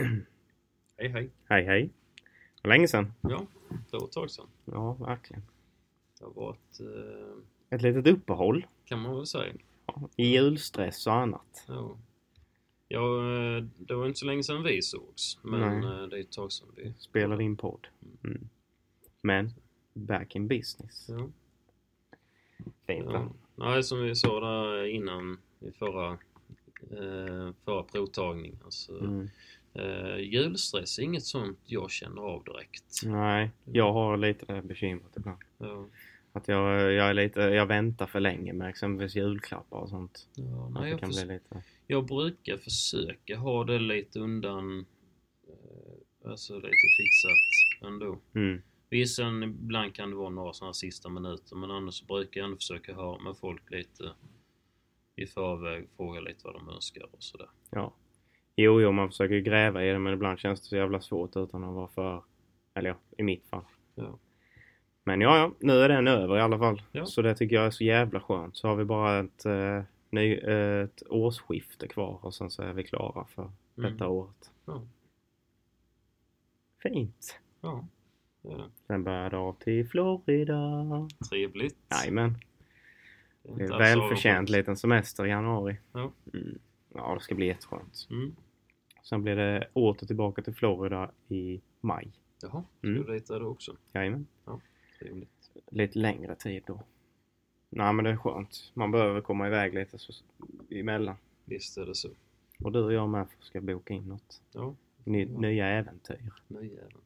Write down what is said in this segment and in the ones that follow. Hej hej. Hej hej. Vad länge sedan. Ja, det var ett tag sedan. Ja, verkligen. Det har varit, eh, Ett litet uppehåll. kan man väl säga. Ja, I julstress och annat. Ja. Ja, eh, det var inte så länge sedan vi sågs. Men Nej. eh, det är ett tag sedan vi... Spelade in podd. Mm. Men, back in business. Ja. Fint va? Ja. Nej, som vi sa där innan i förra, eh, förra provtagningen. Alltså, Mm. eh, julstress är inget sånt jag känner av direkt. Nej, jag har lite det bekymret ibland. Ja. Att jag, jag, är lite, jag väntar för länge med exempelvis julklappar och sånt. Ja, Att nej, det jag, kan förs- bli lite... jag brukar försöka ha det lite undan, eh, alltså lite fixat ändå. Mm. Visst, sen ibland kan det vara några sådana här sista minuter, men annars så brukar jag ändå försöka höra med folk lite i förväg, fråga lite vad de önskar och sådär. Ja. Jo, jo, man försöker ju gräva i det men ibland känns det så jävla svårt utan att vara för... Eller ja, i mitt fall. Ja. Men ja, ja, nu är den över i alla fall. Ja. Så det tycker jag är så jävla skönt. Så har vi bara ett, eh, ny, eh, ett årsskifte kvar och sen så är vi klara för Mm. detta året. Ja. Fint! Ja, det är det. Sen börjar det av till Florida. Trevligt. Jajmen. Det är Det inte är alls välförtjänt avundsjukt. liten semester i januari. Ja. Mm. ja, det ska bli jätteskönt. Mm. Sen blir det åter tillbaka till Florida i maj. Jaha, ska Mm. du rita det också? Jajamän. Trevligt. lite längre tid då. Nej men det är skönt. Man behöver komma iväg lite så, emellan. Visst är det så. Och du och jag med ska boka in något. Ja, Ny, Ja. Nya äventyr. nu jävlar.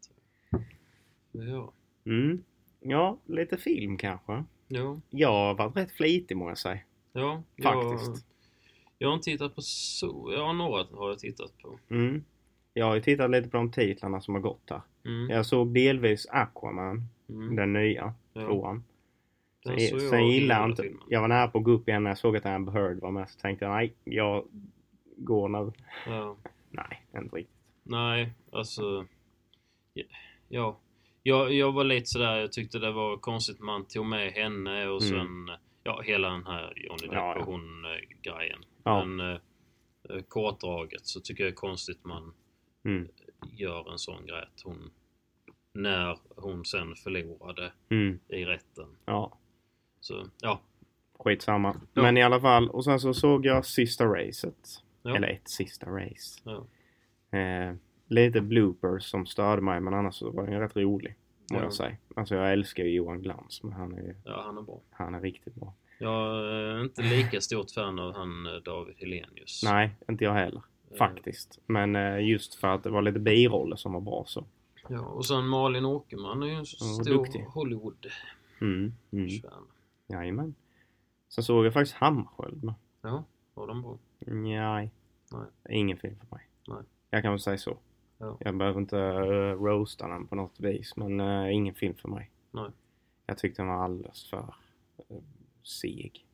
Ja, Mm. Ja, lite film kanske. ja, Jag har varit rätt flitig må jag säga. ja. Faktiskt. Jag, jag har inte tittat på så... Ja, några har jag tittat på. Mm. Jag har ju tittat lite på de titlarna som har gått här. Mm. Jag såg delvis Aquaman, Mm. den nya, Ja. tvåan. Den Sen, såg jag sen i gillade jag den inte... filmen. Jag var nära på att gå upp igen när jag såg att Amber Heard var med. Så tänkte jag, nej, jag går nu. Ja. Nej, inte riktigt. Nej, alltså... Ja. ja. Jag, jag var lite sådär, jag tyckte det var konstigt att man tog med henne och Mm. sen... Ja, hela den här Johnny Depp Ja, ja. och hon eh, grejen. Ja. Men eh, eh, kortdraget så tycker jag det är konstigt att man Mm. gör en sån grej. Att hon, när hon sen förlorade Mm. i rätten. Ja. Så ja, Skitsamma. Ja. Men i alla fall. Och sen så såg jag sista racet. Ja. Eller ett sista race. ja, Eh, lite bloopers som störde mig men annars så var den rätt rolig. Må Ja. jag säga. Alltså jag älskar ju Johan Glans men han är, ju- ja, han är bra. han är riktigt bra. Jag är inte lika stort fan av han eh, David Hellenius. Nej, inte jag heller. Eh, Faktiskt. Men eh, just för att det var lite biroller som var bra så. Ja, och sen Malin Åkerman är ju en stor duktig. Hollywood-stjärna. Mm, mm. Jajamän. Sen såg jag faktiskt Hammarskjöld med. Ja, var de bra? Nej. Nej. Ingen film för mig. Nej. Jag kan väl säga så. Ja. Jag behöver inte uh, roasta den på något vis, men eh, ingen film för mig. Nej. Jag tyckte den var alldeles för eh, seg.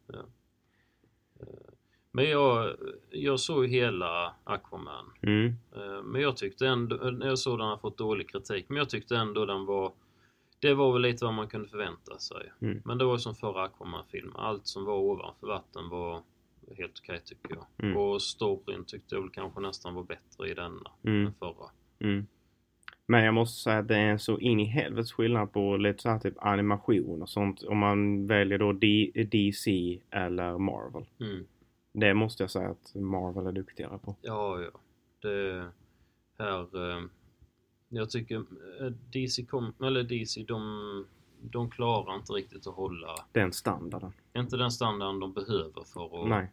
Men jag, jag såg ju hela Aquaman. Mm. Eh, Men jag tyckte ändå, när jag såg den har fått dålig kritik, men jag tyckte ändå den var... Det var väl lite vad man kunde förvänta sig. Mm. Men det var ju som förra Aquaman-filmen. Allt som var ovanför vatten var helt okej tycker jag. Mm. Och storyn tyckte jag väl kanske nästan var bättre i denna Mm. än förra. Mm. Men jag måste säga att det är en så in i helvetes skillnad på lite så här typ animation och sånt. Om man väljer då D- DC eller Marvel. Mm. Det måste jag säga att Marvel är duktigare på. Ja, ja. Det här... eh, Jag tycker eh, DC, kom, eller DC de, de klarar inte riktigt att hålla Den standarden. inte den standarden de behöver för att Nej.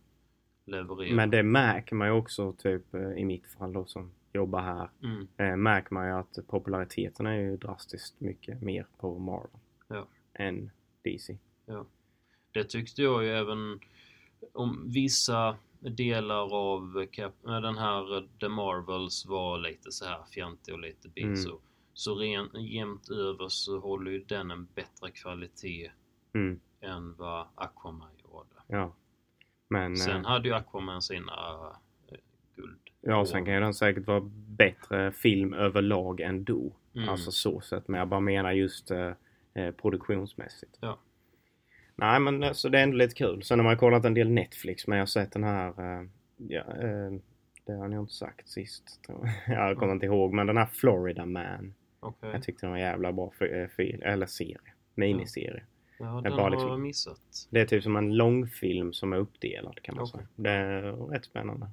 leverera. Men det märker man ju också typ eh, i mitt fall då som jobbar här. Mm, eh, märker man ju att populariteten är ju drastiskt mycket mer på Marvel Ja. än DC. det tyckte jag ju även om vissa delar av Cap- eh, den här eh, The Marvels var lite så här fjantig och lite bit Mm. så. Så ren, jämnt över så håller ju den en bättre kvalitet Mm, än vad Aquaman gjorde. ja. Men Sen eh, hade ju Aquaman sina eh, guld. ja, sen kan ju den säkert vara bättre film överlag ändå. Mm. Alltså så sett. Men jag bara menar just eh, eh, produktionsmässigt. Ja. Nej men eh, så det är ändå lite kul. Sen har man kollat en del Netflix men jag har sett den här eh, ja, eh, Det har ni inte sagt sist. tror jag. Jag Mm. kommer inte ihåg, men den här Florida Man. Okej. Jag tyckte den var en jävla bra fi- eh, fil, eller serie. Mm. Miniserie. Ja, det den var har liksom- jag missat. Det är typ som en långfilm som är uppdelad kan man Okej. säga. Det är rätt spännande.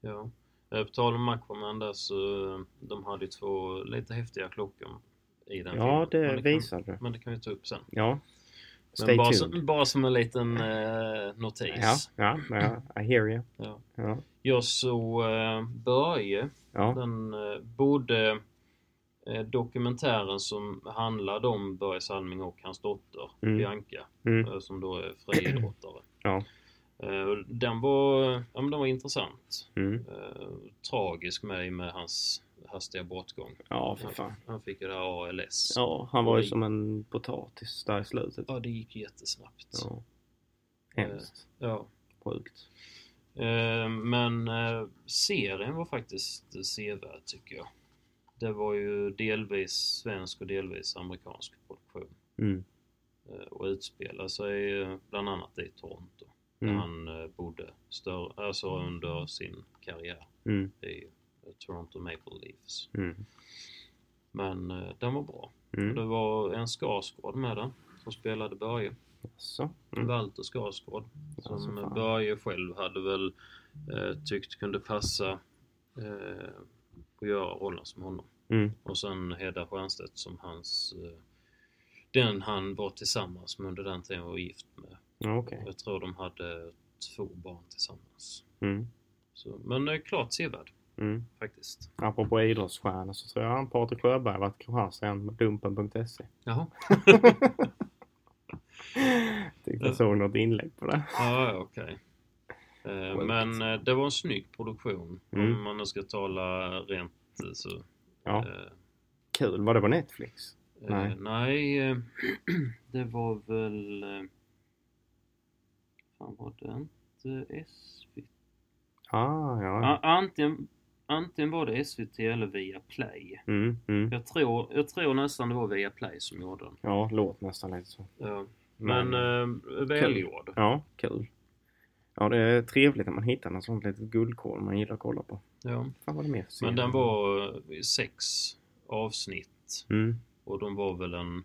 Ja. Eh, På tal om Aquaman där så eh, de hade ju två lite häftiga klockor i den Ja, filmen. det kan- visade du. Men det kan vi ta upp sen. Ja. Men Stay bara tuned. som, bara som en liten eh, notis. Ja, ja, ja, I hear you. Ja. Ja, Jag såg eh, Börje, ja, den eh, både eh, dokumentären som handlade om Börje Salming och hans dotter Mm. Bianca, mm, eh, som då är friidrottare. Ja. Eh, och den, var, ja, men den var intressant. mm. Eh, tragisk med, med hans hastiga bortgång. ja för fan. Han fick ju det här ALS. Ja, Ja, han var ju som en potatis där i slutet. det gick jättesnabbt. Ja. Hemskt. ja. Sjukt. Eh, Men eh, serien var faktiskt eh, sevärd tycker jag. Det var ju delvis svensk och delvis amerikansk produktion. Mm. Eh, Och utspelade sig eh, bland annat i Toronto. Där Mm. han eh, bodde större, alltså under sin karriär Mm. i eh, Toronto Maple Leafs. Mm. Men eh, den var bra. Mm. Det var en Skarsgård med den som spelade Börje. Så. Mm. Walter Skarsgård. Ja, så Som fan. Börje själv hade väl eh, tyckt kunde passa eh, att göra rollen som honom. Mm. Och sen Hedda Stiernstedt som hans... Eh, den han var tillsammans med under den tiden och var gift med. Ja, Okej. Jag tror de hade två barn tillsammans. Mm. Så, men eh, klart sevärd Mm. faktiskt. Apropå idrottsstjärnor så tror jag han Patrik Sjöberg varit Kristianstad igen med Dumpen.se. Jaha. Tyckte jag såg något inlägg på det. Ja, ja, okej. Eh, Sjukt. men eh, det var en snygg produktion. Mm. Om man nu ska tala rent eh, så. Ja, Eh, kul. Var det på Netflix? Nej. Nej, eh, nej eh, det var väl... Eh, fan var det inte SVT? Ah, ja. Ja, antingen, antingen var det SVT eller via Play. Mm, mm. Jag tror, jag tror nästan det var via Play som gjorde den. Ja, låt nästan lite så. Ja. Men eh, välgjord. Ja, kul. Ja, det är trevligt när man hittar något sånt litet guldkorn man gillar att kolla på. Ja. Fan vad det mer för serier? Men den var eh, i sex avsnitt Mm, och de var väl en,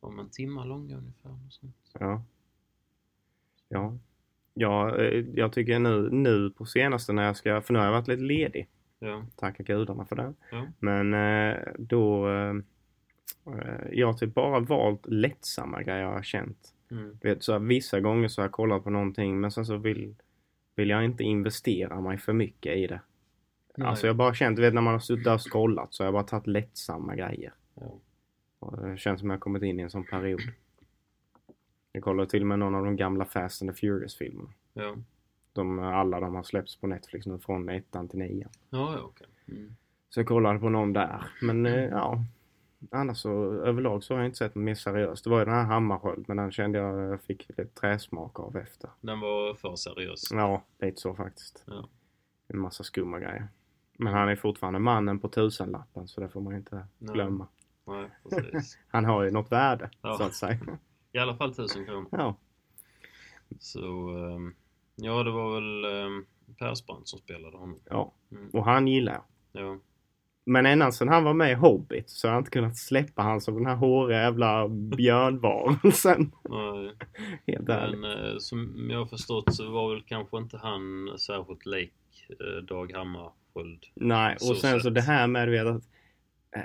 om en timme långa ungefär. och sånt. ja. Ja. Ja, eh, jag tycker nu, nu på senaste när jag ska, för nu har jag varit lite ledig. Ja, Tacka gudarna för det. Ja. Men eh, då, eh, eh, jag har typ bara valt lättsamma grejer jag har känt. mm. Du vet, så här, vissa gånger så har jag kollat på någonting men sen så vill, vill jag inte investera mig för mycket i det. Nej. Alltså jag har bara känt, du vet när man har suttit där och scrollat så har jag bara tagit lättsamma grejer. ja. Och det känns som jag har kommit in i en sån period. Jag kollade till och med någon av de gamla Fast and the Furious-filmerna. ja. De, alla de har släppts på Netflix nu från ettan till nian. Ja, ja, okej. Mm. Så jag kollade på någon där. Men eh, ja, annars så överlag så har jag inte sett något mer seriöst. Det var ju den här Hammarskjöld men den kände jag eh, fick lite träsmak av efter. Den var för seriös. Ja, lite så faktiskt. Ja. En massa skumma grejer. Men han är fortfarande mannen på tusenlappen så det får man inte Nej. glömma. Nej, precis. Han har ju något värde Ja. så att säga. I alla fall 1000 kronor. Ja. Så, ehm, ja det var väl um, Persbrandt som spelade honom. ja, Mm. och han gillar jag. Ja, Men ända sedan han var med i Hobbit så har jag inte kunnat släppa han som den här håriga jävla björnvarelsen. nej. Helt ärligt. Men eh, som jag har förstått så var väl kanske inte han särskilt lik eh, Dag Hammarskjöld. Nej, Så och sen så sett. det här med du vet att eh,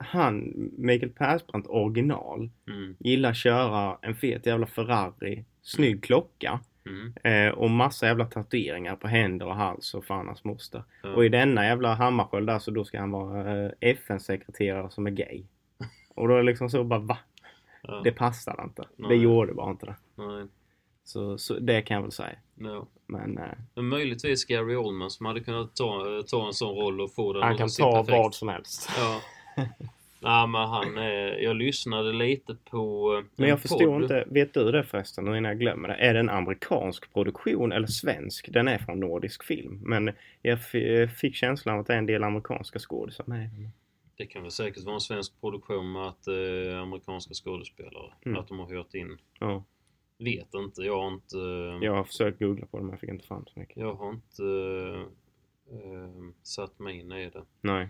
han, Mikael Persbrandt original, Mm. gillar köra en fet jävla Ferrari, snygg klocka. Mm. Eh, och massa jävla tatueringar på händer och hals och fan hans moster. Ja. Och i denna jävla Hammarskjöld där så då ska han vara eh, FN-sekreterare som är gay. Och då är det liksom så bara va? ja. Det passade inte. Det Nej. gjorde bara inte det. Nej, Så, så det kan jag väl säga. no. Men eh, Men möjligtvis Gary Oldman som hade kunnat ta, ta en sån roll och få den han att kan se ta perfekt. vad som helst. Ja. Nej men han är, jag lyssnade lite på eh, Men en jag förstår podd. inte, vet du det förresten nu innan jag glömmer det? Är det en amerikansk produktion eller svensk? Den är från nordisk film. Men jag fi- fick känslan av att det är en del amerikanska skådisar med. Det kan väl säkert vara en svensk produktion med att eh, amerikanska skådespelare, Mm. att de har hyrt in. Ja. Vet inte, eh, jag har inte... Jag har försökt googla på det men jag fick inte fram så mycket. Jag har inte eh, satt mig in i det. Nej.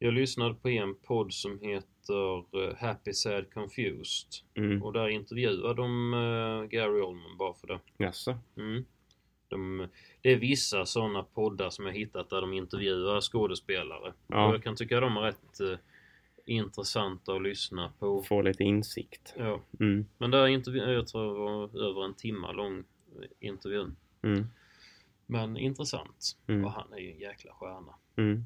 Jag lyssnade på en podd som heter eh, Happy Sad Confused Mm. och där intervjuade de eh, Gary Oldman bara för det. Jaså? Mm. De, det är vissa sådana poddar som jag hittat där de intervjuar skådespelare. Ja. Och jag kan tycka de är rätt eh, intressanta att lyssna på. Få lite insikt. Ja. Mm. Men där intervju- eh, jag tror det var över en timme lång eh, intervjun. Mm. Men intressant. Mm. Och han är ju en jäkla stjärna. Mm.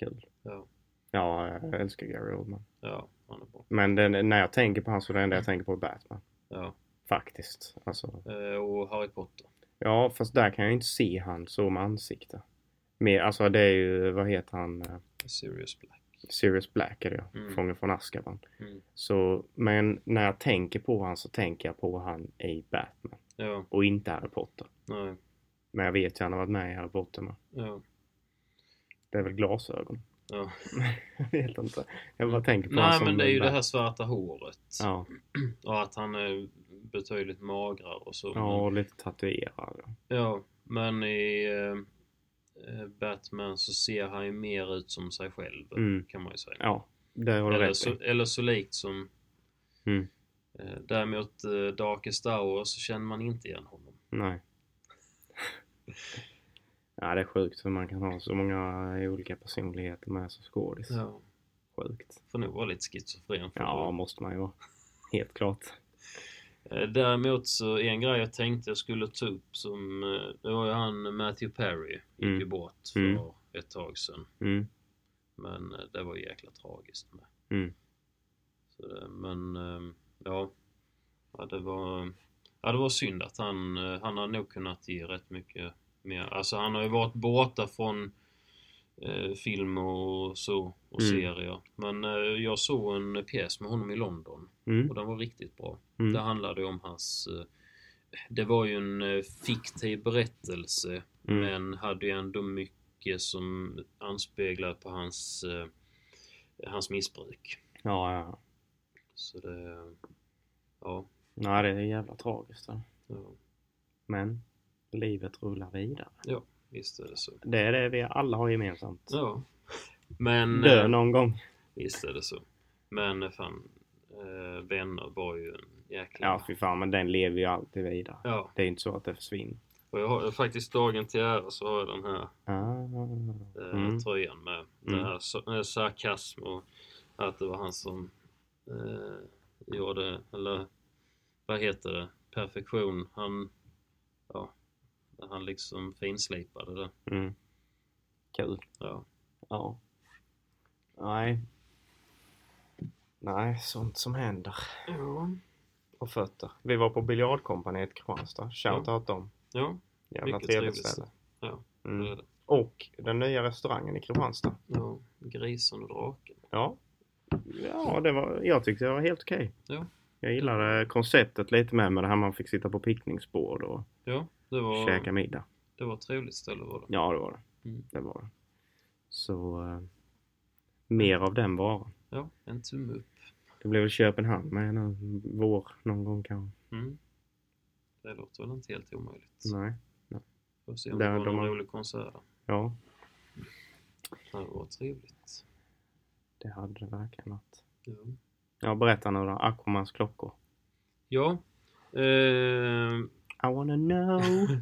Kul. Ja. Ja, jag älskar Gary Oldman. Ja, han är bra. Men den, när jag tänker på han så är det enda jag tänker på är Batman. Ja. Faktiskt. Alltså, Eh, Och Harry Potter. ja, fast där kan jag inte se han som ansikte. Mer, alltså det är ju, vad heter han? eh, Sirius Black. Sirius Black är det ja. Mm. Fången från Azkaban. Mm. Så, men när jag tänker på han så tänker jag på han i Batman. Ja, Och inte Harry Potter. nej, Men jag vet ju han har varit med i Harry Potter med. ja. Det är väl glasögon? Ja. jag vet inte. Jag bara tänker på han Nej som men det är ju det Batman. här svarta håret. Ja, Och att han är betydligt magrare och så. ja och lite tatuerad. Ja, men i eh, eh, Batman så ser han ju mer ut som sig själv. Mm. Kan man ju säga. Ja, det har du eller, rätt så, i. eller så likt som... Mm. Eh, däremot eh, Darkest Hour så känner man inte igen honom. Nej. Ja, det är sjukt hur man kan ha så många olika personligheter med som skådis. Ja. Sjukt. Får nog vara lite schizofren. för Ja, det. måste man ju vara. Helt klart. Eh, Däremot så en grej jag tänkte jag skulle ta upp som... eh, Det var ju han Matthew Perry. Gick ju Mm. bort för Mm. ett tag sedan. Mm. Men eh, det var ju jäkla tragiskt med. Mm. Så, det- men eh, ja. ja, det var ja, det var synd att han, eh, han hade nog kunnat ge rätt mycket mer. Alltså han har ju varit borta från eh, film och så och Mm. serier. Men eh, jag såg en pjäs med honom i London och Mm. den var riktigt bra. Det Mm. handlade ju om hans eh, det var ju en eh, fiktiv berättelse Mm. men hade ju ändå mycket som anspeglar på hans, eh, hans missbruk. Ja, ja. ja. Så det... Ja. Nej, det är jävla tragiskt. det. ja Men livet rullar vidare. visst är det så. Det är det vi alla har gemensamt. Ja. Men... Dö eh, någon gång. Visst är det så. Men eh, fan. Eh, vänner var ju en jäkla... Ja, fy fan, men den lever ju alltid vidare. Ja, Det är inte så att det försvinner. Och jag har faktiskt dagen till ära så har jag den här Ah. eh, Mm. tröjan med. Det Mm. här sa- eh, sarkasm och att det var han som eh, gjorde, eller vad heter det, perfektion. Han, ja, han liksom finslipade det. Mm. Kul. Ja, Ja. Nej. Nej, sånt som händer. ja. Och fötter. Vi var på biljardkompaniet i Kristianstad. Shoutout dem. ja Jävla Mycket trevligt trevligt ställe. Ja, det är Mm. det. Och den nya restaurangen i Kristianstad. ja. Grisen och draken. Ja. Ja, det var, jag tyckte det var helt okej. Ja. Jag gillade konceptet lite med, med det här man fick sitta på picknickbord och Ja, det käka var, middag. det var ett trevligt ställe var det. Ja, det var det. Mm. Det var det. Så eh, mer av den varan. Ja, en tumme upp. Det blir väl Köpenhamn med nu, vår någon gång kanske. Mm. Det låter väl inte helt omöjligt. Nej. Får se om Där det var de någon har- rolig konsert där. Ja, Det var trevligt. det hade det verkligen varit. Ja. Ja, berätta nu då. Aquamans klockor. Ja. Eh, I wanna know.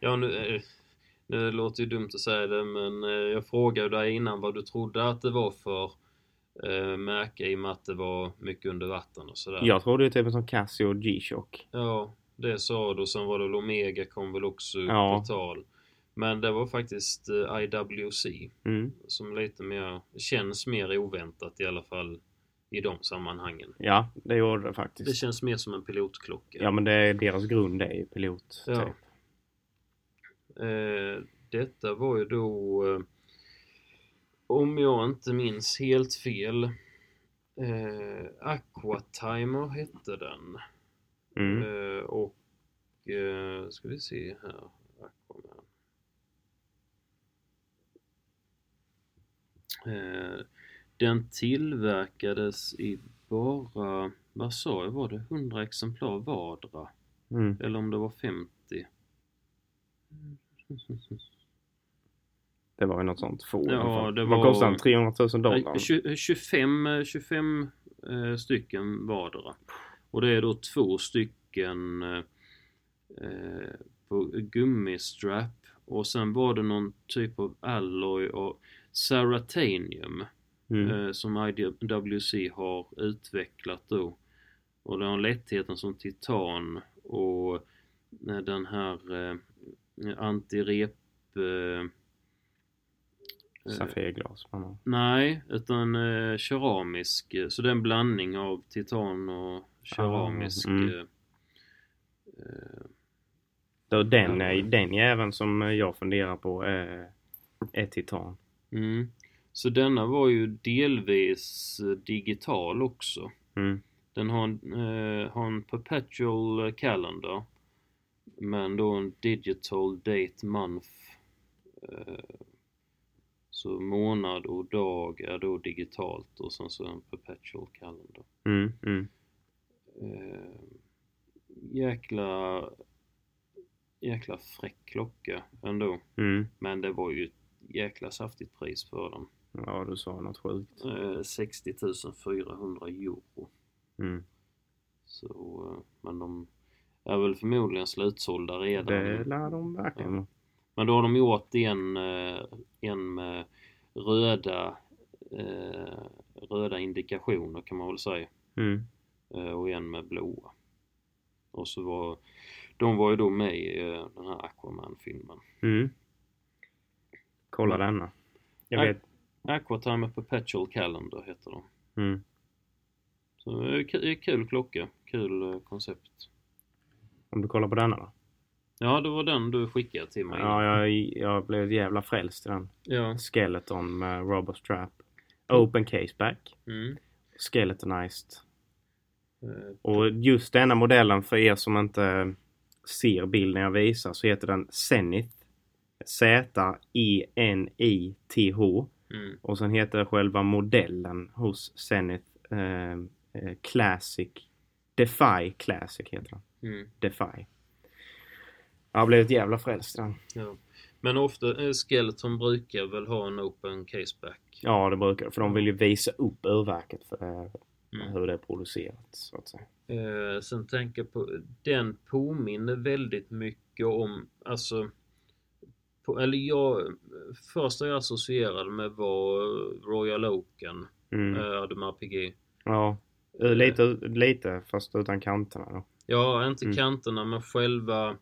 ja, nu, eh, nu låter ju dumt att säga det, men eh, jag frågade dig innan vad du trodde att det var för eh, märke i och med att det var mycket under vatten och sådär. jag trodde ju typ en sån Casio G-Shock. ja det sa du. Sen var det väl Omega kom väl också Ja. på tal. Men det var faktiskt eh, IWC Mm. som lite mer, känns mer oväntat i alla fall i de sammanhangen. Ja, det gjorde det Det faktiskt. känns mer som en pilotklocka. Ja, men det är deras grund är ju pilot. Ja. Typ. Eh, detta var ju då, eh, om jag inte minns helt fel, eh, Aquatimer hette den. Mm. Eh, och, eh, ska vi se här, Aquaman. Eh, den tillverkades i bara, vad sa jag, var det 100 exemplar vardera? Mm. Eller om det var 50. Det var ju något sånt få. Ja, i alla fall. det Vad var- kostade den? 300 000 dollar? Eh, tju- eh, 25, eh, 25 eh, stycken vardera. Och det är då två stycken eh, eh, på gummistrap och sen var det någon typ av alloy och Ceratanium Mm. eh, som IWC har utvecklat då. Och den har lättheten som titan och eh, den här eh, antirep... Eh, eh, Safirglas. man har. Nej, utan eh, keramisk. eh, Så det är en blandning av titan och keramisk. Ah, mm. eh, eh, Då Den, Ja. ja. den jäveln som eh, jag funderar på är, är titan. mm. Så denna var ju delvis eh, digital också. Mm. Den har en, eh, har en perpetual eh, calendar. Men då en digital date month. Eh, så månad och dag är då digitalt och sen så en perpetual calendar. Mm. Mm. Eh, jäkla jäkla fräck klocka ändå. Mm. Men det var ju ett jäkla saftigt pris för den. Ja, du sa något sjukt. Eh, 60 400 euro. Mm. Så, eh, men de är väl förmodligen slutsålda redan. Det lär de verkligen Ja. vara. Men då har de gjort en, eh, en med röda, eh, röda indikationer kan man väl säga. mm. Eh, och en med blåa. Och så var de var ju då med i eh, den här Aquaman-filmen. mm. Kolla denna. Jag Nej. vet. Aquatime Perpetual Calendar heter de. Mm. Så det är ku- det är kul klocka, kul eh, koncept. Om du kollar på denna då? Ja, det var den du skickade till mig. Ja, jag, jag blev jävla frälst i den. ja. Skeleton med rubber strap. Open caseback. Mm. Skeletonized. Eh, Och just denna modellen för er som inte ser bilden jag visar så heter den Zenith. E Z-E-N-I-T-H. Mm. Och sen heter själva modellen hos Zenith eh, eh, Classic. Defy Classic heter den. Mm. Defy. Jag blev ett jävla frälst i den. Ja. Men ofta, eh, Skeleton brukar väl ha en open caseback. Ja, det brukar För de vill ju visa upp urverket för det, Mm. hur det är producerat. Så att säga. Eh, sen tänker jag på, den påminner väldigt mycket om, alltså, på, eller jag, första jag associerade med var Royal Oaken, Mm. mm. Adam RPG. Ja, Eh, lite, lite fast utan kanterna då. Ja, inte Mm. kanterna men själva,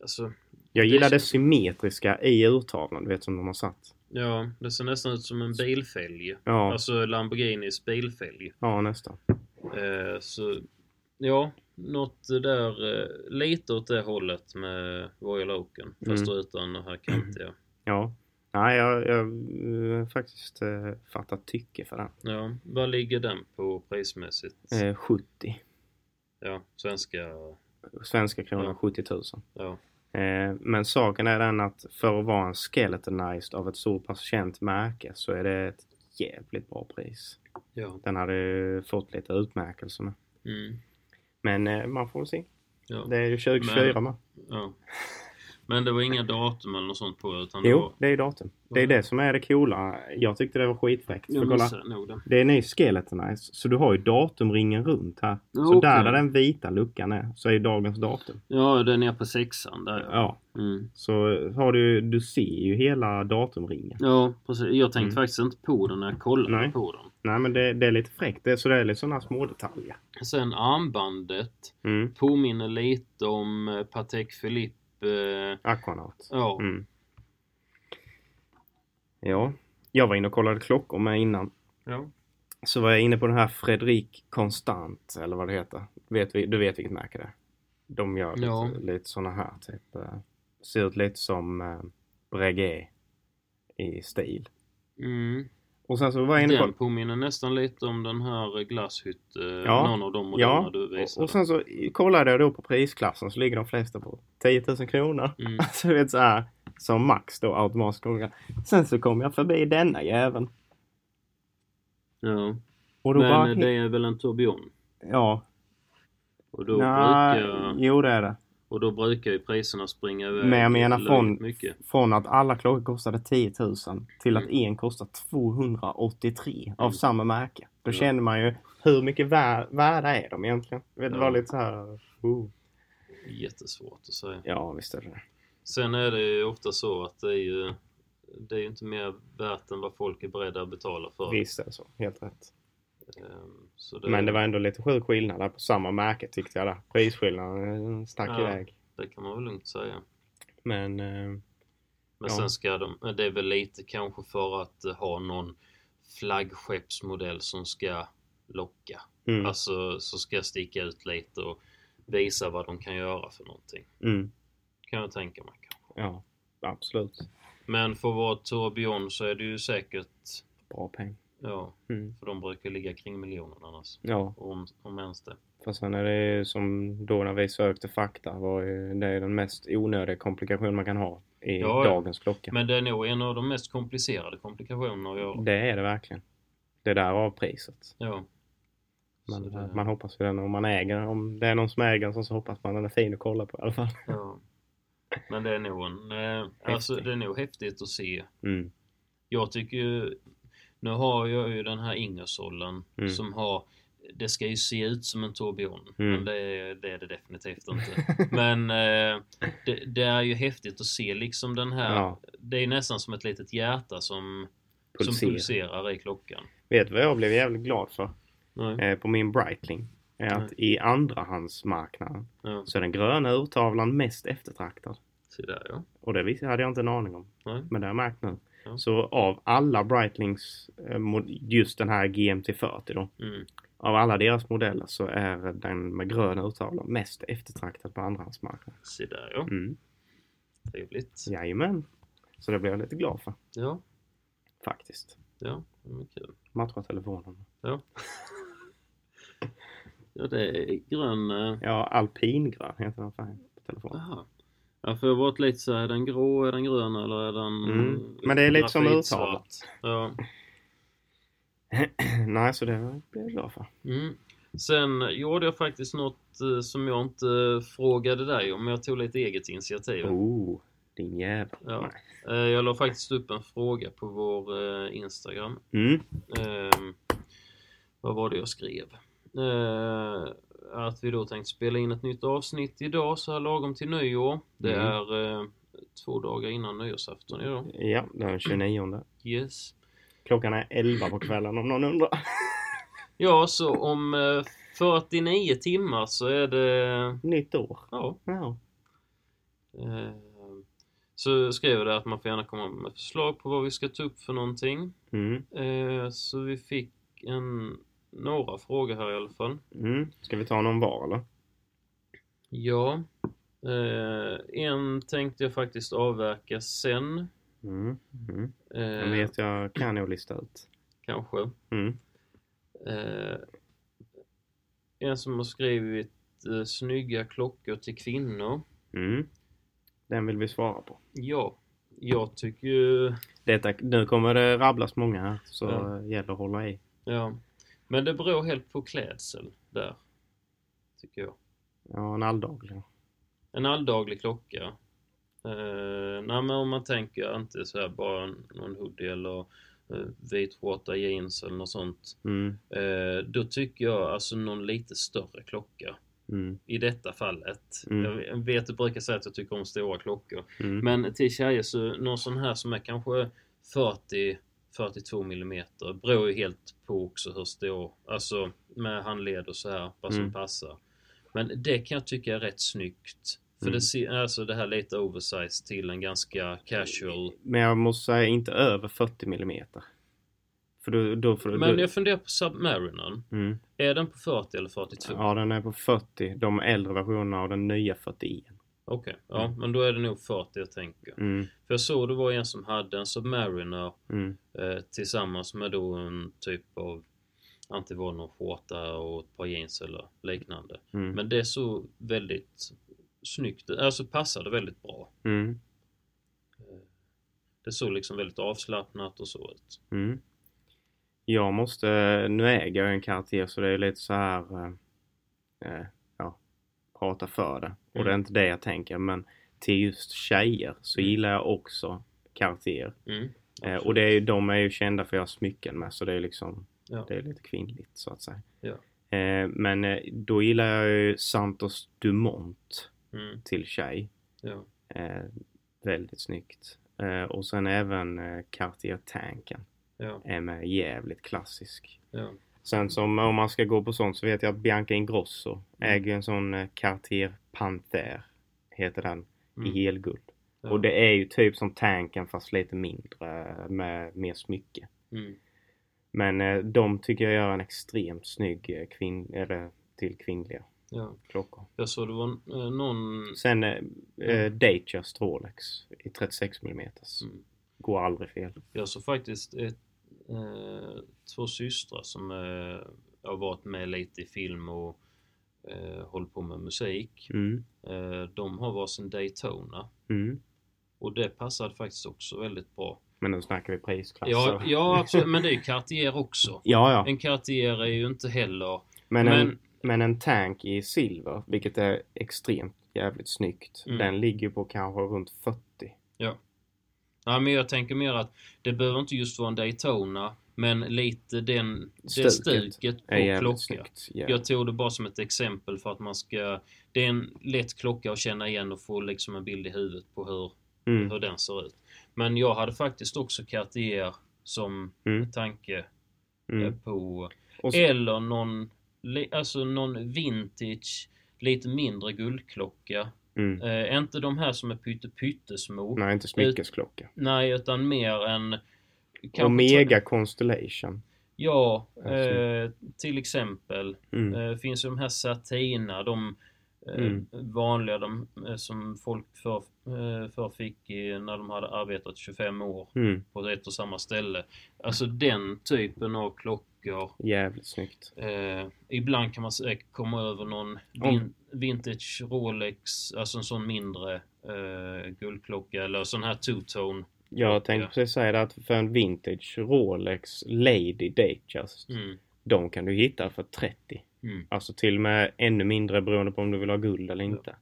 alltså, Jag Det gillar är så- det symmetriska i urtavlan, du vet som de har satt. ja, det ser nästan ut som en bilfälg. Ja, Alltså Lamborghinis bilfälg. ja nästan. Eh, så, ja, något där, eh, lite åt det hållet med Royal Oaken, fast Mm. utan det här kantiga. Ja. Nej, jag jag eh, faktiskt eh, fattar tycke för den. Ja, vad ligger den på prismässigt? Eh, 70. Ja, svenska... Svenska kronor Ja. 70 000. Ja. Eh, men saken är den att för att vara en skeletonized av ett så pass känt märke så är det ett jävligt bra pris. Ja. Den hade ju fått lite utmärkelser med. Mm. Men eh, man får väl se. Ja. Det är ju 2024 med. ja. Men det var inga datum eller något sånt på utan det Jo, var... det är ju datum. Det är det som är det coola. Jag tyckte det var skitfräckt. För Jag kolla, missade nog det. det är ny Skeletonized, så du har ju datumringen runt här. Ja, Så där, okej. där den vita luckan är, så är ju dagens datum. Ja, den är på sexan där ja. Ja, Mm. så har du, du ser ju hela datumringen. Ja, precis. Jag tänkte Mm. faktiskt inte på den när jag kollade Nej. på den. Nej, men det, det är lite fräckt. Det, är- så det är lite sådana små detaljer. Sen armbandet Mm. påminner lite om eh, Patek Philippe. Eh, Aquanaut. ja. Mm. Ja, jag var inne och kollade klockor med innan. ja. Så var jag inne på den här Fredrik Constant, eller vad det heter. Vet vi, du vet vilket märke det är? De gör lite, Ja. lite såna här, typ. eh, Ser ut lite som eh, Breguet i stil. Mm. Och sen så var jag inne Den på... påminner nästan lite om den här glasshytt... Eh, Ja. Någon av de modellerna Ja, du och, visade. och sen så kollade jag då på prisklassen så ligger de flesta på 10 000 kronor. Mm. Alltså du vet så här, som max då automatiskt konkurrens. Sen så kom jag förbi denna jäveln. Ja. Och då Men bara... eh, det är väl en tourbillon? Ja, Och då Nej, brukar... jo det är det. Och då brukar ju priserna springa iväg Men jag menar löjligt från, mycket. från att alla klockor kostade 10 000 till att Mm. en kostar 283 av Mm. samma märke. Då Ja. känner man ju hur mycket vär, värda är de egentligen? Jag vet, Det var Ja. lite så här... Oh. Jättesvårt att säga. Ja, visst är det det. Sen är det ju ofta så att det är ju det är ju inte mer värt än vad folk är beredda att betala för. Visst är det så. Helt rätt. Ehm, Så det, Men det var ändå lite sjuk skillnad där på samma märke tyckte jag. Där. Prisskillnaden eh, stack Ja. iväg. det kan man väl lugnt säga. Men... Eh, Men Ja. sen ska de, men det är väl lite kanske för att eh, ha någon flaggskeppsmodell som ska locka. mm, Alltså så ska sticka ut lite och visa vad de kan göra för någonting. mm, Kan jag tänka mig. kanske. ja, absolut. Men för att vara Tourbillon så är det ju säkert, Bra peng. ja, Mm. för de brukar ligga kring miljonen annars. Ja, Om, om ens det. för sen är det ju som då när vi sökte fakta. Var ju, det är ju den mest onödiga komplikation man kan ha i Ja, ja. dagens klocka. Men det är nog en av de mest komplicerade komplikationerna att göra. Det är det verkligen. Det är därav priset. Ja. Man, Så det- man hoppas ju den om man äger Om det är någon som äger den så, så hoppas man den är fin att kolla på i alla fall. ja. Men det är nog en, eh, alltså Häftigt. det är nog häftigt att se. Mm. Jag tycker ju, nu har jag ju den här Ingersollen Mm. som har, det ska ju se ut som en tourbillon, Mm. men det, det är det definitivt inte. men eh, det, det är ju häftigt att se liksom den här, Ja. det är nästan som ett litet hjärta som som Pulserar. pulserar i klockan. Vet du vad jag blev jävligt glad för? Nej. Eh, på min Breitling. Är att Mm. i andrahandsmarknaden Ja, så är den gröna urtavlan mest eftertraktad. se där ja. Och det visste- hade jag inte en aning om. Nej. Men det har jag märkt nu. Ja. Så av alla Breitlings, eh, mod- just den här GMT40 då. Mm. Av alla deras modeller så är den med gröna urtavlan mest eftertraktad på andrahandsmarknaden. Se där ja. Mm. Trevligt. Jajamän. Så det blev jag lite glad för Ja, faktiskt. ja, det var kul. Matcha telefonen. Ja. ja, det är grön... eh, Ja, alpingrön heter den färgen på telefonen. Aha. Ja, för jag har varit lite så här, är den grå, är den grön eller är den... Mm. Men det är lite som grafitsvart? urtavla. Ja. Nej, så det blev jag glad för. Mm. Sen gjorde jag faktiskt något eh, som jag inte eh, frågade dig om, men jag tog lite eget initiativ. Oh, din jävel. Ja. Eh, Jag la faktiskt upp en fråga på vår eh, Instagram. Mm. Ehm, vad var det jag skrev? Eh, att vi då tänkte spela in ett nytt avsnitt idag så här lagom till nyår. Det Mm. är eh, två dagar innan nyårsafton idag. Ja, den 29. Yes. Klockan är 11 på kvällen om någon undrar. Ja, så om eh, 49 timmar så är det... Nytt år. Ja. Ja. Eh, så skrev jag det att man får gärna komma med förslag på vad vi ska ta upp för någonting. Mm. Eh, så vi fick en, några frågor här i alla fall. Mm. Ska vi ta någon var eller? Ja. Eh, en tänkte jag faktiskt avverka sen. Mm. Mm. Den Eh, vet jag kan jag lista ut. Kanske. Mm. Eh, en som har skrivit eh, snygga klockor till kvinnor. Mm. Den vill vi svara på. Ja, jag tycker ju... Detta, nu kommer det rabblas många här, så Ja. gäller att hålla i. Ja. Men det beror helt på klädsel där. Tycker jag. Ja, en alldaglig. En alldaglig klocka. Eh, nej men om man tänker inte så här bara någon hoodie eller eh, vitskjorta, jeans eller något sånt. Mm. Eh, då tycker jag alltså någon lite större klocka. Mm. I detta fallet. Mm. Jag vet, du brukar säga att jag tycker om stora klockor. Mm. Men till tjejer så någon sån här som är kanske 40 42 millimeter beror ju helt på också hur stor, alltså med handled och så här, vad som Mm. passar. Men det kan jag tycka är rätt snyggt. För Mm. det ser, alltså det här lite oversized till en ganska casual. Men jag måste säga inte över 40 millimeter. För då, då får du... Men jag funderar på Submarinern. mm. Är den på 40 eller 42? Ja, den är på 40. De äldre versionerna av den nya 41. Okej, ja Mm. men då är det nog 40 jag tänker. Mm. För jag såg det var en som hade en Submariner Mm. eh, tillsammans med då en typ av antingen och skjorta och ett par jeans eller liknande. Mm. Men det såg väldigt snyggt ut, alltså passade väldigt bra. Eh, Mm. Det såg liksom väldigt avslappnat och så ut. Mm. Jag måste, nu äger jag en Cartier så det är lite så här, eh, eh, ja, prata för det. Och det är inte det jag tänker men till just tjejer så Mm. gillar jag också Cartier. Mm. Eh, Absolut. och det är, ju- de är ju kända för att göra smycken med så det är liksom Ja. det är lite kvinnligt så att säga. Ja. Eh, men eh, då gillar jag ju Santos Dumont Mm. till tjej. Ja. Eh, väldigt snyggt. Eh, och sen även eh, Cartier Tanken Ja. är med jävligt klassisk. Ja. Sen som om man ska gå på sånt så vet jag att Bianca Ingrosso Mm. äger en sån eh, Cartier Panther heter den Mm. i helguld. ja. Och det är ju typ som tanken fast lite mindre med mer smycke. Mm. Men eh, de tycker jag gör en extremt snygg eh, kvinn, eller till kvinnliga Ja. klockor. Jag såg det var eh, någon... Sen eh, eh, Datejust Rolex i 36 mm. Mm. Går aldrig fel. Jag såg faktiskt ett, eh, två systrar som eh, har varit med lite i film och eh, hållit på med musik. Mm. Eh, de har varsin Daytona Mm. och det passade faktiskt också väldigt bra. Men nu snackar vi prisklasser. Ja, ja absolut, men det är ju Cartier också. ja, ja. En Cartier är ju inte heller... Men, men- en, men en tank i silver, vilket är extremt jävligt snyggt. Mm. Den ligger på kanske runt 40. Ja, men jag tänker mer att det behöver inte just vara en Daytona, men lite den, det Stuket stuket Är på jävligt klockan. snyggt. Ja. Jag tog det bara som ett exempel för att man ska... Det är en lätt klocka att känna igen och få liksom en bild i huvudet på hur, Mm. hur den ser ut. Men jag hade faktiskt också Cartier som Mm. tanke Mm. eh, på... Och så- Eller någon, li- alltså någon vintage, lite mindre guldklocka. Mm. Eh, inte de här som är pytte pyttesmå. Nej, inte smyckesklocka. Nej, utan mer en... kanske- Omega Constellation. Ja, Ja, eh, till exempel. Mm. Eh, finns ju de här Satina, de eh, Mm. vanliga de, eh, som folk för, eh, för fick i, när de hade arbetat 25 år Mm. på ett och samma ställe. Alltså den typen av klockor. Jävligt snyggt. Eh, ibland kan man säkert komma över någon Om- vin, vintage Rolex, alltså en sån mindre eh, guldklocka eller sån här two-tone. Jag tänkte Ja. precis säga det att för en vintage Rolex Lady Datejust, Mm, de kan du hitta för 30. mm. Alltså till och med ännu mindre beroende på om du vill ha guld eller inte.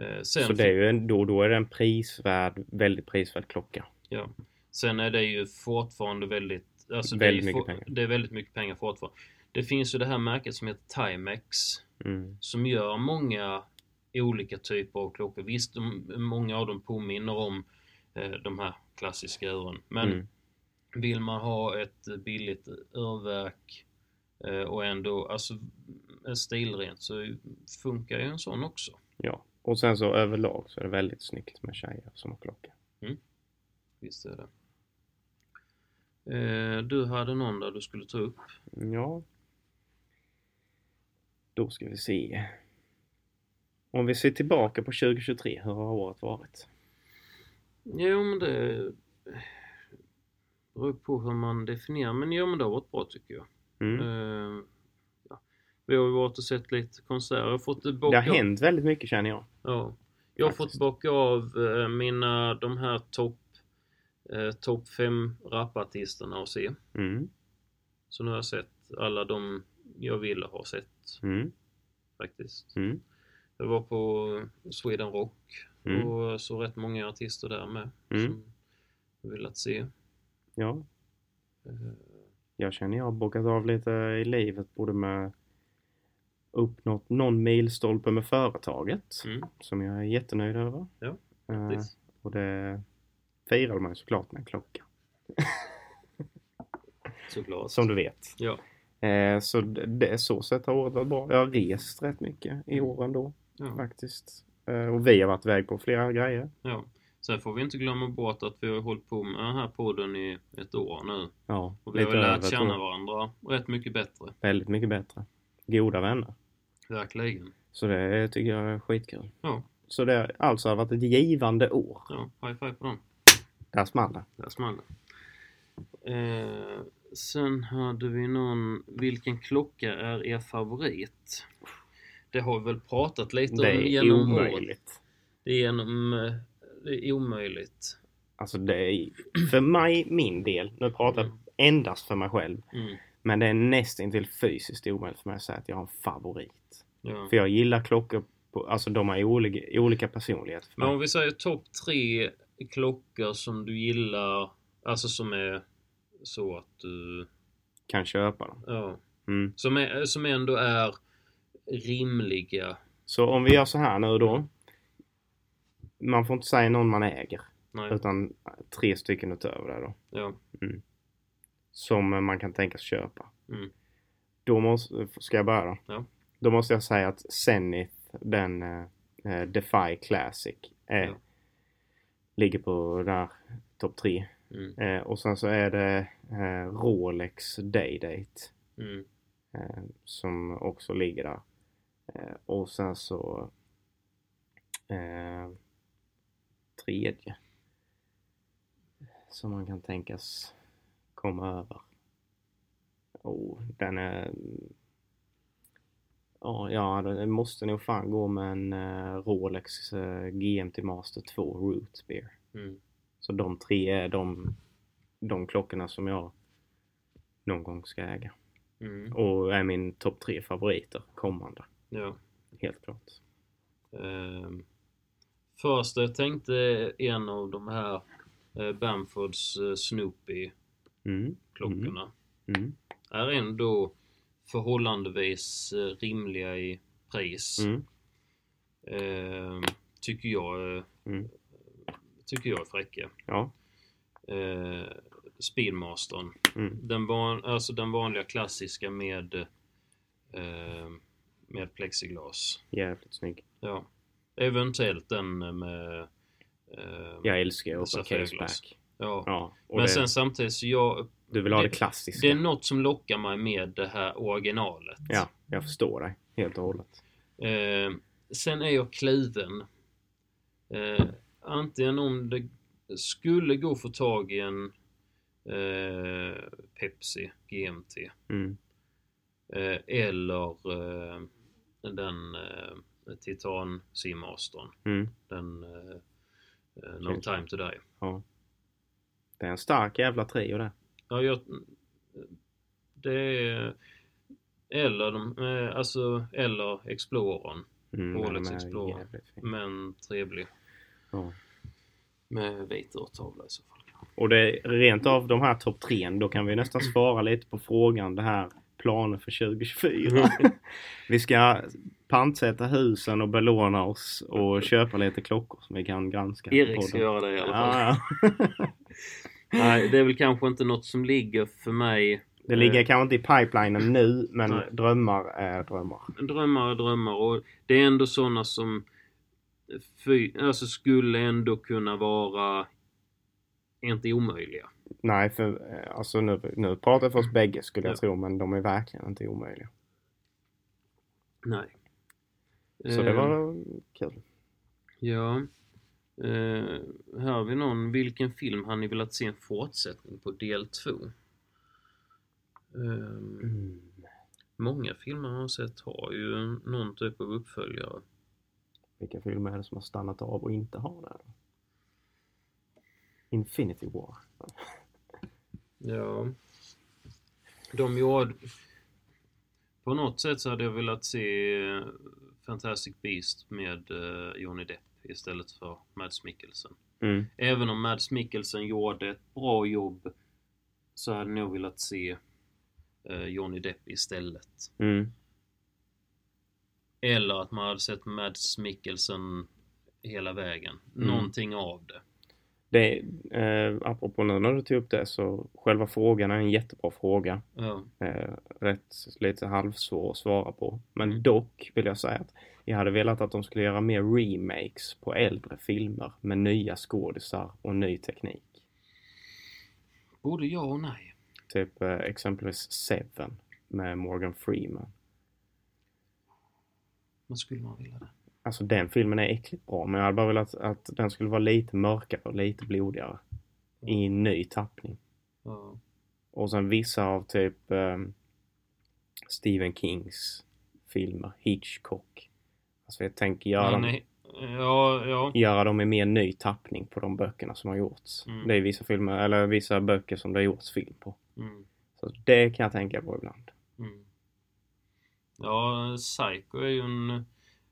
Eh, sen, Så det är ju en, då, då är det en prisvärd, väldigt prisvärd klocka. ja. sen är det ju fortfarande väldigt, alltså Väldigt det, är ju mycket for- pengar. det är väldigt mycket pengar fortfarande. Det finns ju det här märket som heter Timex. Mm. som gör många olika typer av klockor. Visst, de, många av dem påminner om eh, de här klassiska uren. Men Mm. vill man ha ett billigt urverk eh, och ändå alltså, eh, stilrent så funkar ju en sån också. Ja. Och sen så överlag så är det väldigt snyggt med tjejer som har klocka. Visst är det. Eh, du hade någon där du skulle ta upp. Mm, Ja. Då ska vi se. Om vi ser tillbaka på 2023, hur har året varit? Jo, men det beror på hur man definierar. Men jo, men det har varit bra tycker jag. Mm. Eh, ja. Vi har ju varit och sett lite konserter. Jag har fått Det bocka, har hänt väldigt mycket känner jag. Ja. Jag har fått Faktiskt. bocka av eh, mina, de här topp eh, top 5 rapartisterna och se. Mm. Så nu har jag sett alla de jag ville ha sett Mm. faktiskt. Mm. Jag var på Sweden Rock Mm. och så rätt många artister där med Mm. som jag velat se. Ja, Mm. Eh, jag känner jag har bockat av lite i livet både med uppnått någon milstolpe med företaget Mm. som jag är jättenöjd över. Ja, Eh, precis. och det firade man ju såklart med en klocka. Såklart. Som du vet. Ja. Eh, så det, det, så sett har året varit bra. Jag har rest rätt mycket Mm. i år ändå Ja. faktiskt. Eh, och vi har varit iväg på flera grejer. Ja. Sen får vi inte glömma bort att vi har hållit på med den här podden i ett år nu. Ja, Och vi har ju lärt över ett känna år. varandra rätt mycket bättre. Väldigt mycket bättre. Goda vänner. Verkligen. Så det tycker jag är skitkul. Ja, Så det alltså har varit ett givande år. ja high five på dem. Där small det. Där small det. eh, Sen hade vi någon, vilken klocka är er favorit? Det har vi väl pratat lite Det om är genom året. omöjligt. Det är, genom, eh, det är omöjligt. Alltså det är, för mig, min del, nu pratar jag Mm. endast för mig själv. Mm, Men det är nästintill fysiskt omöjligt för mig att säga att jag har en favorit. ja. För jag gillar klockor på, alltså de har olika, olika personligheter. för Men mig. om vi säger topp tre klockor som du gillar, alltså som är så att du, Kan köpa dem. ja, Mm. som, är, som ändå är rimliga. Så om vi gör så här nu Mm. då. Man får inte säga någon man äger. Nej, Utan tre stycken utöver det då. ja, Som eh, man kan tänkas köpa. Mm. Då måste, ska jag börja då? Ja. Då måste jag säga att Zenith, den eh, eh, Defy Classic, är, Ja. ligger på där topp tre. mm, Eh, och sen så är det eh, Rolex Daydate. mm, Eh, som också ligger där. Eh, och sen så... Eh, tredje. Som man kan tänkas komma över. Oh, den är... ja ja, den måste nog fan gå med en eh, Rolex eh, GMT Master 2 Root Spear. mm. Så de tre är de, de klockorna som jag någon gång ska äga. mm. Och är min topp tre favoriter kommande. Ja. Helt klart. Ehm, först jag tänkte en av de här eh, Bamfords eh, Snoopy-klockorna. Mm. Mm. Är ändå förhållandevis eh, rimliga i pris. Mm. Ehm, tycker jag eh, Mm. tycker jag är fräcka. Ja. Eh, Speedmastern. Mm. Den, van, alltså den vanliga klassiska med eh, med plexiglas. Jävligt snygg. Ja. Eventuellt den med eh, Jag älskar ju Open Sapphire Case Glass. Back. ja. Ja. Och alltså. Men sen det, samtidigt så jag du vill ha det, det- klassiska. Det är något som lockar mig med det här originalet. Ja, jag förstår dig. Helt och hållet. Eh, sen är jag kluven. Eh, antingen om det skulle gå att få tag i en eh, Pepsi GMT Mm. eh, eller eh, den eh, Titan Seamastern. Mm. Den eh, eh, No Time To Die. Ja. Det är en stark jävla trio det. Ja, jag, det är, eller, de, eh, alltså, eller Explorern. Mm, Rolex de är Explorer. jävligt fina. Men trevlig. Ja. Med vit urtavla i så fall. Och det är rent av de här topp tre, då kan vi nästan svara lite på frågan det här planen för 2024. vi ska pantsätta husen och belåna oss och köpa lite klockor som vi kan granska. i Erik ska podden. göra det i alla fall. Ja, ja. Nej, det är väl kanske inte något som ligger för mig. Det ligger kanske inte i pipelinen nu, men Eh. Nej. drömmar är drömmar. Drömmar är drömmar och det är ändå sådana som fy, alltså skulle ändå kunna vara inte omöjliga. Nej, för eh, alltså nu, nu pratar jag för oss bägge skulle jag Ja. tro, men de är verkligen inte omöjliga. Nej. Så det Eh, var kul. Ja. Eh, här har vi någon. Vilken film hade ni velat se en fortsättning på del 2? Eh, många filmer man har sett har ju någon typ av uppföljare. Vilka filmer är det som har stannat av och inte har det? då? Infinity War. Ja. De gjorde... På något sätt så hade jag velat se eh, Fantastic Beast med eh, Johnny Depp istället för Mads Mikkelsen. Mm. Även om Mads Mikkelsen gjorde ett bra jobb så hade jag nog velat se eh, Johnny Depp istället. Mm. Eller att man hade sett Mads Mikkelsen hela vägen. Mm. Någonting av det. Det, är, eh, apropå nu när du tog upp det så själva frågan är en jättebra fråga. Ja. eh, rätt lite halvsvår att svara på. Men Mm. dock vill jag säga att jag hade velat att de skulle göra mer remakes på äldre filmer med nya skådisar och ny teknik. Både ja och nej. Typ eh, exempelvis Seven med Morgan Freeman. Men skulle man vilja det? Alltså den filmen är äckligt bra men jag hade bara velat att den skulle vara lite mörkare och lite blodigare. I en ny tappning. Ja. Och sen vissa av typ eh, Stephen Kings filmer, Hitchcock. Alltså jag tänker göra Ja, dem- nej. ja, ja. göra dem i mer ny tappning på de böckerna som har gjorts. Mm. Det är vissa filmer, eller vissa böcker som det har gjorts film på. Mm. Så det kan jag tänka på ibland. Mm. Ja, Psycho är ju en,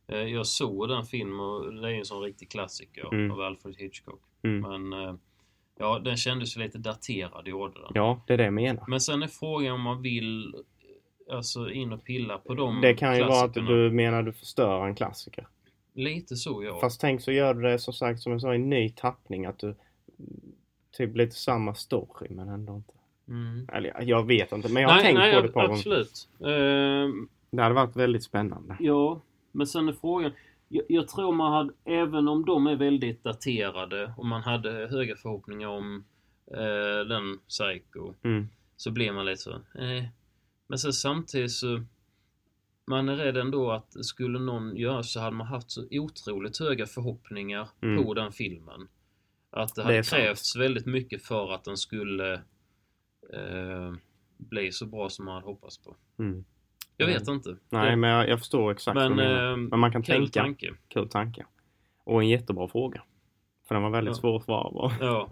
Eh, Jag såg den filmen och det är ju en sån riktig klassiker Mm. av Alfred Hitchcock. Mm. Men eh, ja, den kändes ju lite daterad, gjorde den. Ja, det är det jag menar. Men sen är frågan om man vill eh, alltså in och pilla på de Det kan ju vara att Mm, klassikerna. du menar du förstör en klassiker. Lite så, ja. Fast tänk så gör du det som sagt som jag sa i ny tappning att du typ lite samma story men ändå inte. Mm. Eller jag- jag vet inte men jag har nej, tänkt nej, på det ett par ab- gånger. absolut. Ehm, Det hade varit väldigt spännande. Ja, men sen är frågan. Jag, jag tror man hade, även om de är väldigt daterade och man hade höga förhoppningar om eh, den Psycho, Mm. så blir man lite så. Eh. Men sen samtidigt så, man är rädd ändå att skulle någon göra så hade man haft så otroligt höga förhoppningar Mm. på den filmen. Att det Det hade är sant. krävts väldigt mycket för att den skulle eh, bli så bra som man hade hoppats på. Mm. Jag Mm. vet inte. Nej Det- men jag, jag förstår exakt vad men, du menar. eh, Men man kan kul tänka. tanke. Kul tanke. Och en jättebra fråga. För den var väldigt Ja. svår att svara på. Ja.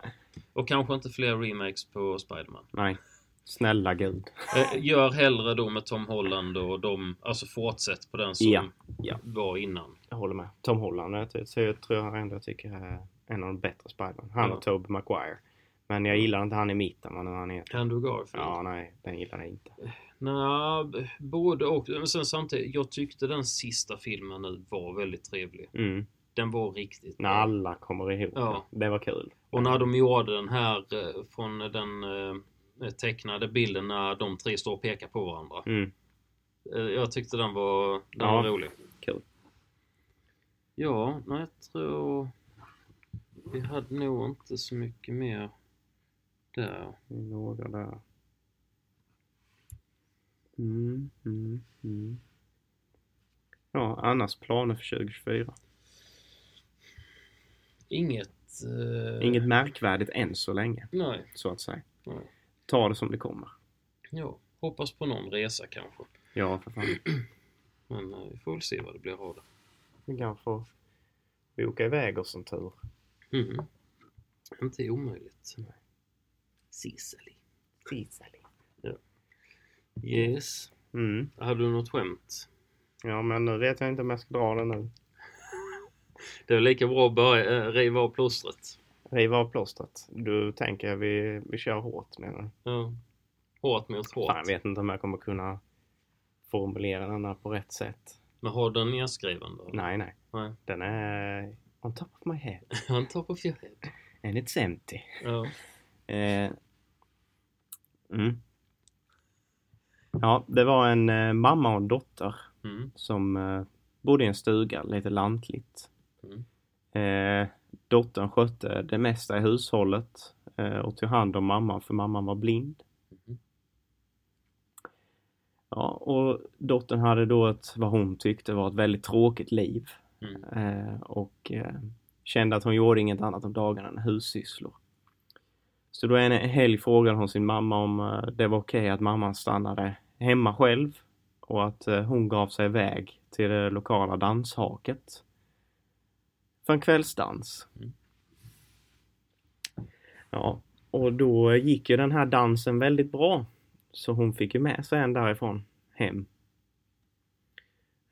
Och kanske inte fler remakes på Spiderman. Nej. Snälla gud. Eh, gör hellre då med Tom Holland och de, alltså fortsätt på den som Ja, ja. var innan. Jag håller med. Tom Holland jag ty- så jag tror jag ändå tycker är en av de bättre Spiderman. Han Ja. och Tobey Maguire. Men jag gillar inte han i mitten vad nu han heter. Andrew Garfield. Ja, nej, den gillar jag inte. Nja, b- både och. Men sen samtidigt, jag tyckte den sista filmen nu var väldigt trevlig. Mm. Den var riktigt När alla kommer ihop. Ja. Det var kul. Och när de gjorde den här eh, från den eh, tecknade bilden när de tre står och pekar på varandra. Mm. Eh, Jag tyckte den var, den Ja. var rolig. Kul. Ja, nej, jag tror... Vi hade nog inte så mycket mer där. Några där. Mm, mm, mm. Ja, annars planer för 2024. Inget... eh, Inget märkvärdigt än så länge, Nej. så att säga. nej. Ta det som det kommer. Ja, hoppas på någon resa kanske. Ja, för fan. Men eh, vi får väl se vad det blir av det. Vi kan få boka iväg oss en tur. Mm. Inte omöjligt. Siseli. Yes. Mm. Hade du något skämt? Ja, men nu vet jag inte om jag ska dra den nu. Det är lika bra att börja eh, riva av plåstret. Riva av plåstret. Du tänker vi, vi kör hårt menar du? Ja. Hårt mot hårt. Fan, jag vet inte om jag kommer kunna formulera den här på rätt sätt. Men har du den nedskriven då? Nej, nej. Nej. Den är on top of my head Han tar på fjärde. and it's empty. Ja. Eh. Mm. Ja, det var en eh, mamma och en dotter Mm. som eh, bodde i en stuga lite lantligt. Mm. Eh, dottern skötte det mesta i hushållet eh, och tog hand om mamman för mamman var blind. Mhm. Ja, och dottern hade då ett, vad hon tyckte var ett väldigt tråkigt liv Mm. eh, och eh, kände att hon gjorde inget annat om dagarna än hussysslor. Så då en helg frågade hon sin mamma om eh, det var okej att mamman stannade hemma själv och att eh, hon gav sig iväg till det lokala danshaket för en kvällsdans. Mm. Ja, och då gick ju den här dansen väldigt bra. Så hon fick ju med sig en därifrån hem.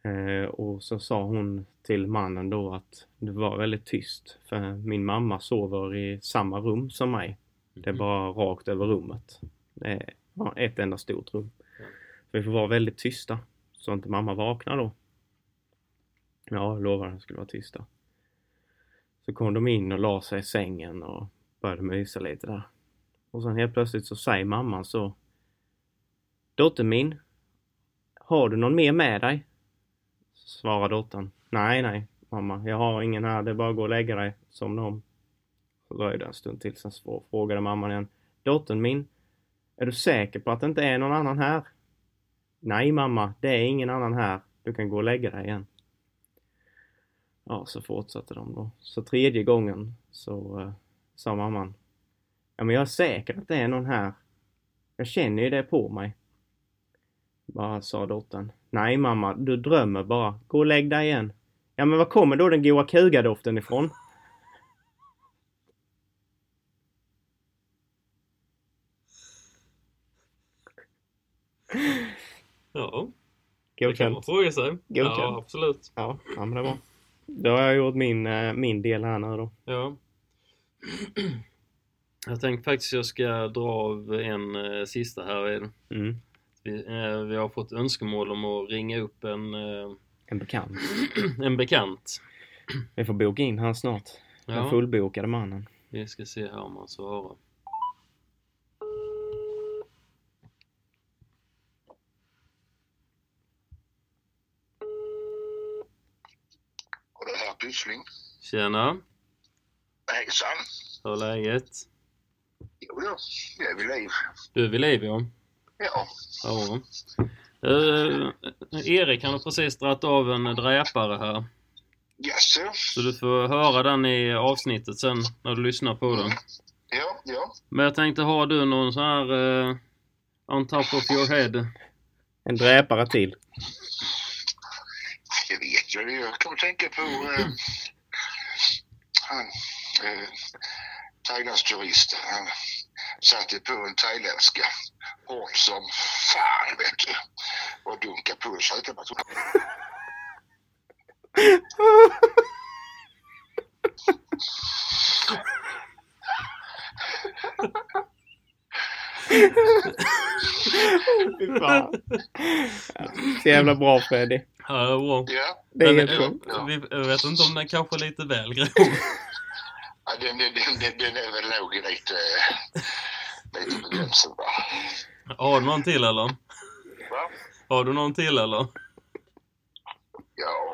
Eh, och så sa hon till mannen då att det var väldigt tyst för min mamma sover i samma rum som mig. Det är bara rakt över rummet. Det är ja, ett enda stort rum. Ja. Så vi får vara väldigt tysta så inte mamma vaknar då. Ja, jag lovar att skulle vara tysta. Så kom de in och la sig i sängen och började mysa lite där. Och sen helt plötsligt så säger mamman så Dotter min, har du någon mer med dig? Svarar dottern. Nej, nej, mamma, jag har ingen här. Det är bara att gå och lägga dig. Somna om. Så dröjde det en stund till, sen svår, frågade mamman igen. Dottern min, är du säker på att det inte är någon annan här? Nej mamma, det är ingen annan här. Du kan gå och lägga dig igen. Ja, så fortsatte de då. Så tredje gången så eh, sa mamman. Ja, men jag är säker att det är någon här. Jag känner ju det på mig. Bara sa dottern. Nej mamma, du drömmer bara. Gå och lägg dig igen. Ja, men var kommer då den goa kugadoften ifrån? Ja. Det kan Mm. man Godkänt. fråga sig. Ja, Godkänt. absolut. Ja, ja, men det var. Då har jag gjort min, eh, min del här nu då. Ja. Jag tänkte faktiskt jag ska dra av en eh, sista här. Ed. Mm. Vi, eh, vi har fått önskemål om att ringa upp en, eh, En bekant. en bekant. Vi får boka in han snart. Den Ja, fullbokade mannen. vi ska se här om han svarar. Och det här Pyssling. Tjena, Hejsan! hur är läget? Jo då, jag är vid liv. Du är vid liv ja. Ja, ja. Eh, Erik han har precis dragit av en dräpare här. jaså? Så du får höra den i avsnittet sen när du lyssnar på den. Ja, ja. Men jag tänkte, har du någon sån här eh, on top of your head? En dräpare till. Jag vet ju det. Jag kommer att tänka på eh, han, eh, Thailandsturisten. Han satte på en thailändska hårt som fan, vet du. Och dunkade på så att det bara- Fy fan. Ja, Så jävla bra Freddy. Ja, det är bra. Ja, Det är Den- helt sjukt. eh, vi- Jag vet inte om den kanske är lite väl grov. ja den, den, den, den, den är väl nog lite, eh, lite på gränsen, va? Har du någon till eller? va? Har du någon till eller? Ja...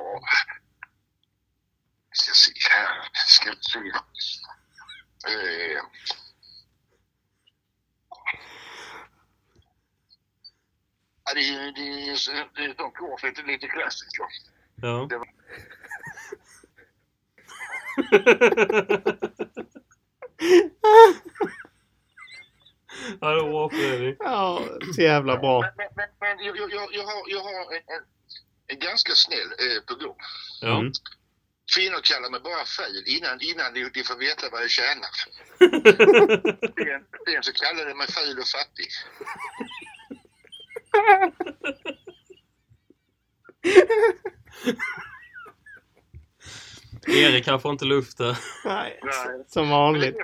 Ska se här. Ska vi se. Eh, ja, det är det är så- det är som går lite, lite klassiskt. ja. Ja. Det var- Ja, det är bra Fredrik. Ja, så jävla bra. Men, men, men, men jag, jag- jag, jag har, jag har en, en, en ganska snäll eh, på gång. Ja. Mm. Kvinnor kallar mig bara fil innan, innan de, de får veta vad jag tjänar. En så kallade de mig fil och fattig. Erik han får inte luft där. Nej, Nej. som vanligt.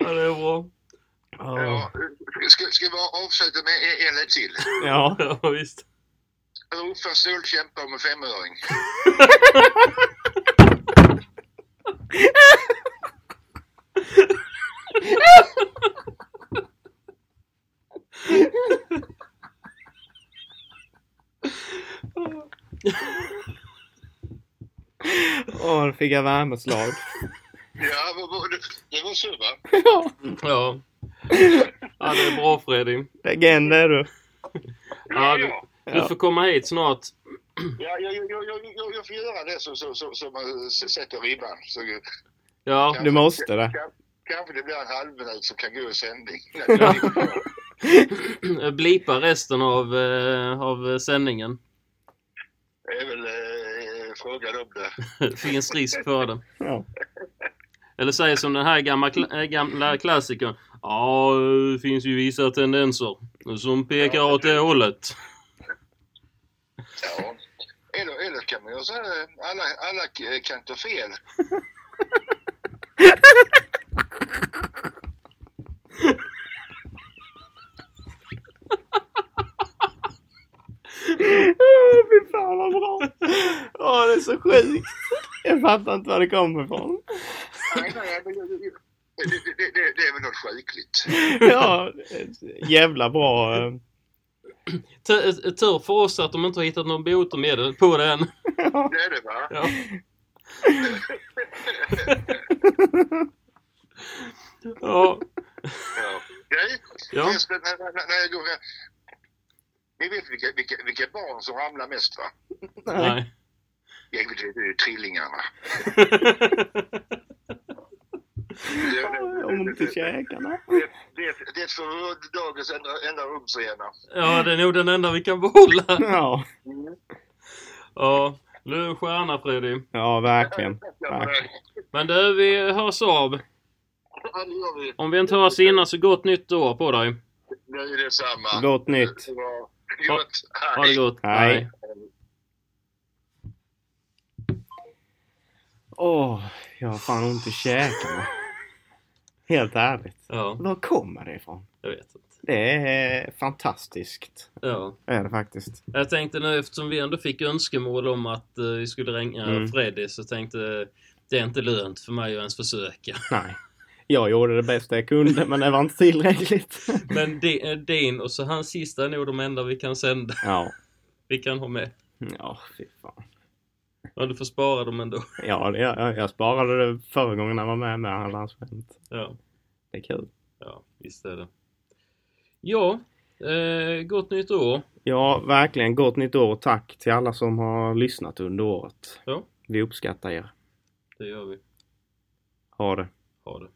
Ja, det är bra. Ja, Ja, ska, ska vi avsluta med en, en lite till? ja. Ja, visst. Uffe Stålkämpe om en femöring. Åh, nu fick jag värmeslag. Ja, vad var det? det var så va? Ja, Ja. Ja, det är bra Fredrik. legend är du. Ja, du, ja, du får komma hit snart. ja jag, jag, jag, jag, jag får göra det som så, så, så man s- sätter ribban. Så, Ja, Du måste det. kan, kanske det blir en halv minut som kan gå i sändning. blipa resten av, eh, av sändningen. Det är väl eh, frågan om det. Finns risk för det. Ja. Eller säg som den här gamla, kla- äh, gamla klassikern. Ja, det finns ju vissa tendenser som pekar åt det hållet. Ja. Eller, eller kan man göra så här, eh, alla, alla k- kan ta fel. Åh, Fy fan vad bra. Åh, det är så sjukt. Jag fattar inte var det kommer ifrån. Nej, nej, men det, det, det, det, det, det är väl något sjukligt. Ja, jävla bra. eh. T- eh, Tur för oss att de inte har hittat någon botemedel på det än. Det är det va? Ja. ja. Ja. Nej, Ja. Förresten, när, när, när jag går här. Ni vet vilka, vilka, vilka barn som ramlar mest va? Nej. Nej. Det är- det är trillingarna. Det är, Ont i käkarna. det, det, det är för dagens enda, enda rumsrena. Ja, det är nog den enda vi kan behålla. Ja, Mm. Ja, du är en stjärna Freddy. ja verkligen. Ja, Tack. Men du, vi hörs av. Ja, det gör vi. Om vi inte hörs innan så gott nytt år på dig. Det är ju detsamma. Gott nytt. Det var gott. Ha det gott. Hej. Åh, jag har fan ont i käkarna. Helt ärligt. Ja, Var kommer det ifrån? jag vet inte. Det är fantastiskt. Ja. Är det faktiskt. Jag tänkte nu eftersom vi ändå fick önskemål om att eh, vi skulle ringa Mm. Freddy så tänkte jag, det är inte lönt för mig att ens försöka. Nej. Jag gjorde det bästa jag kunde, men det var inte tillräckligt. Men di- eh, din och så hans sista är nog de enda vi kan sända. Ja. Vi kan ha med. Ja, fy fan. Ja, du får spara dem ändå. Ja, det, jag, jag sparade det förra gången han var med med alla hans skämt. Ja, alltså Det är kul. ja visst är det. Ja, eh, gott nytt år. Ja, verkligen. Gott nytt år och tack till alla som har lyssnat under året. Ja. Vi uppskattar er. Det gör vi. Ha det. Ha det.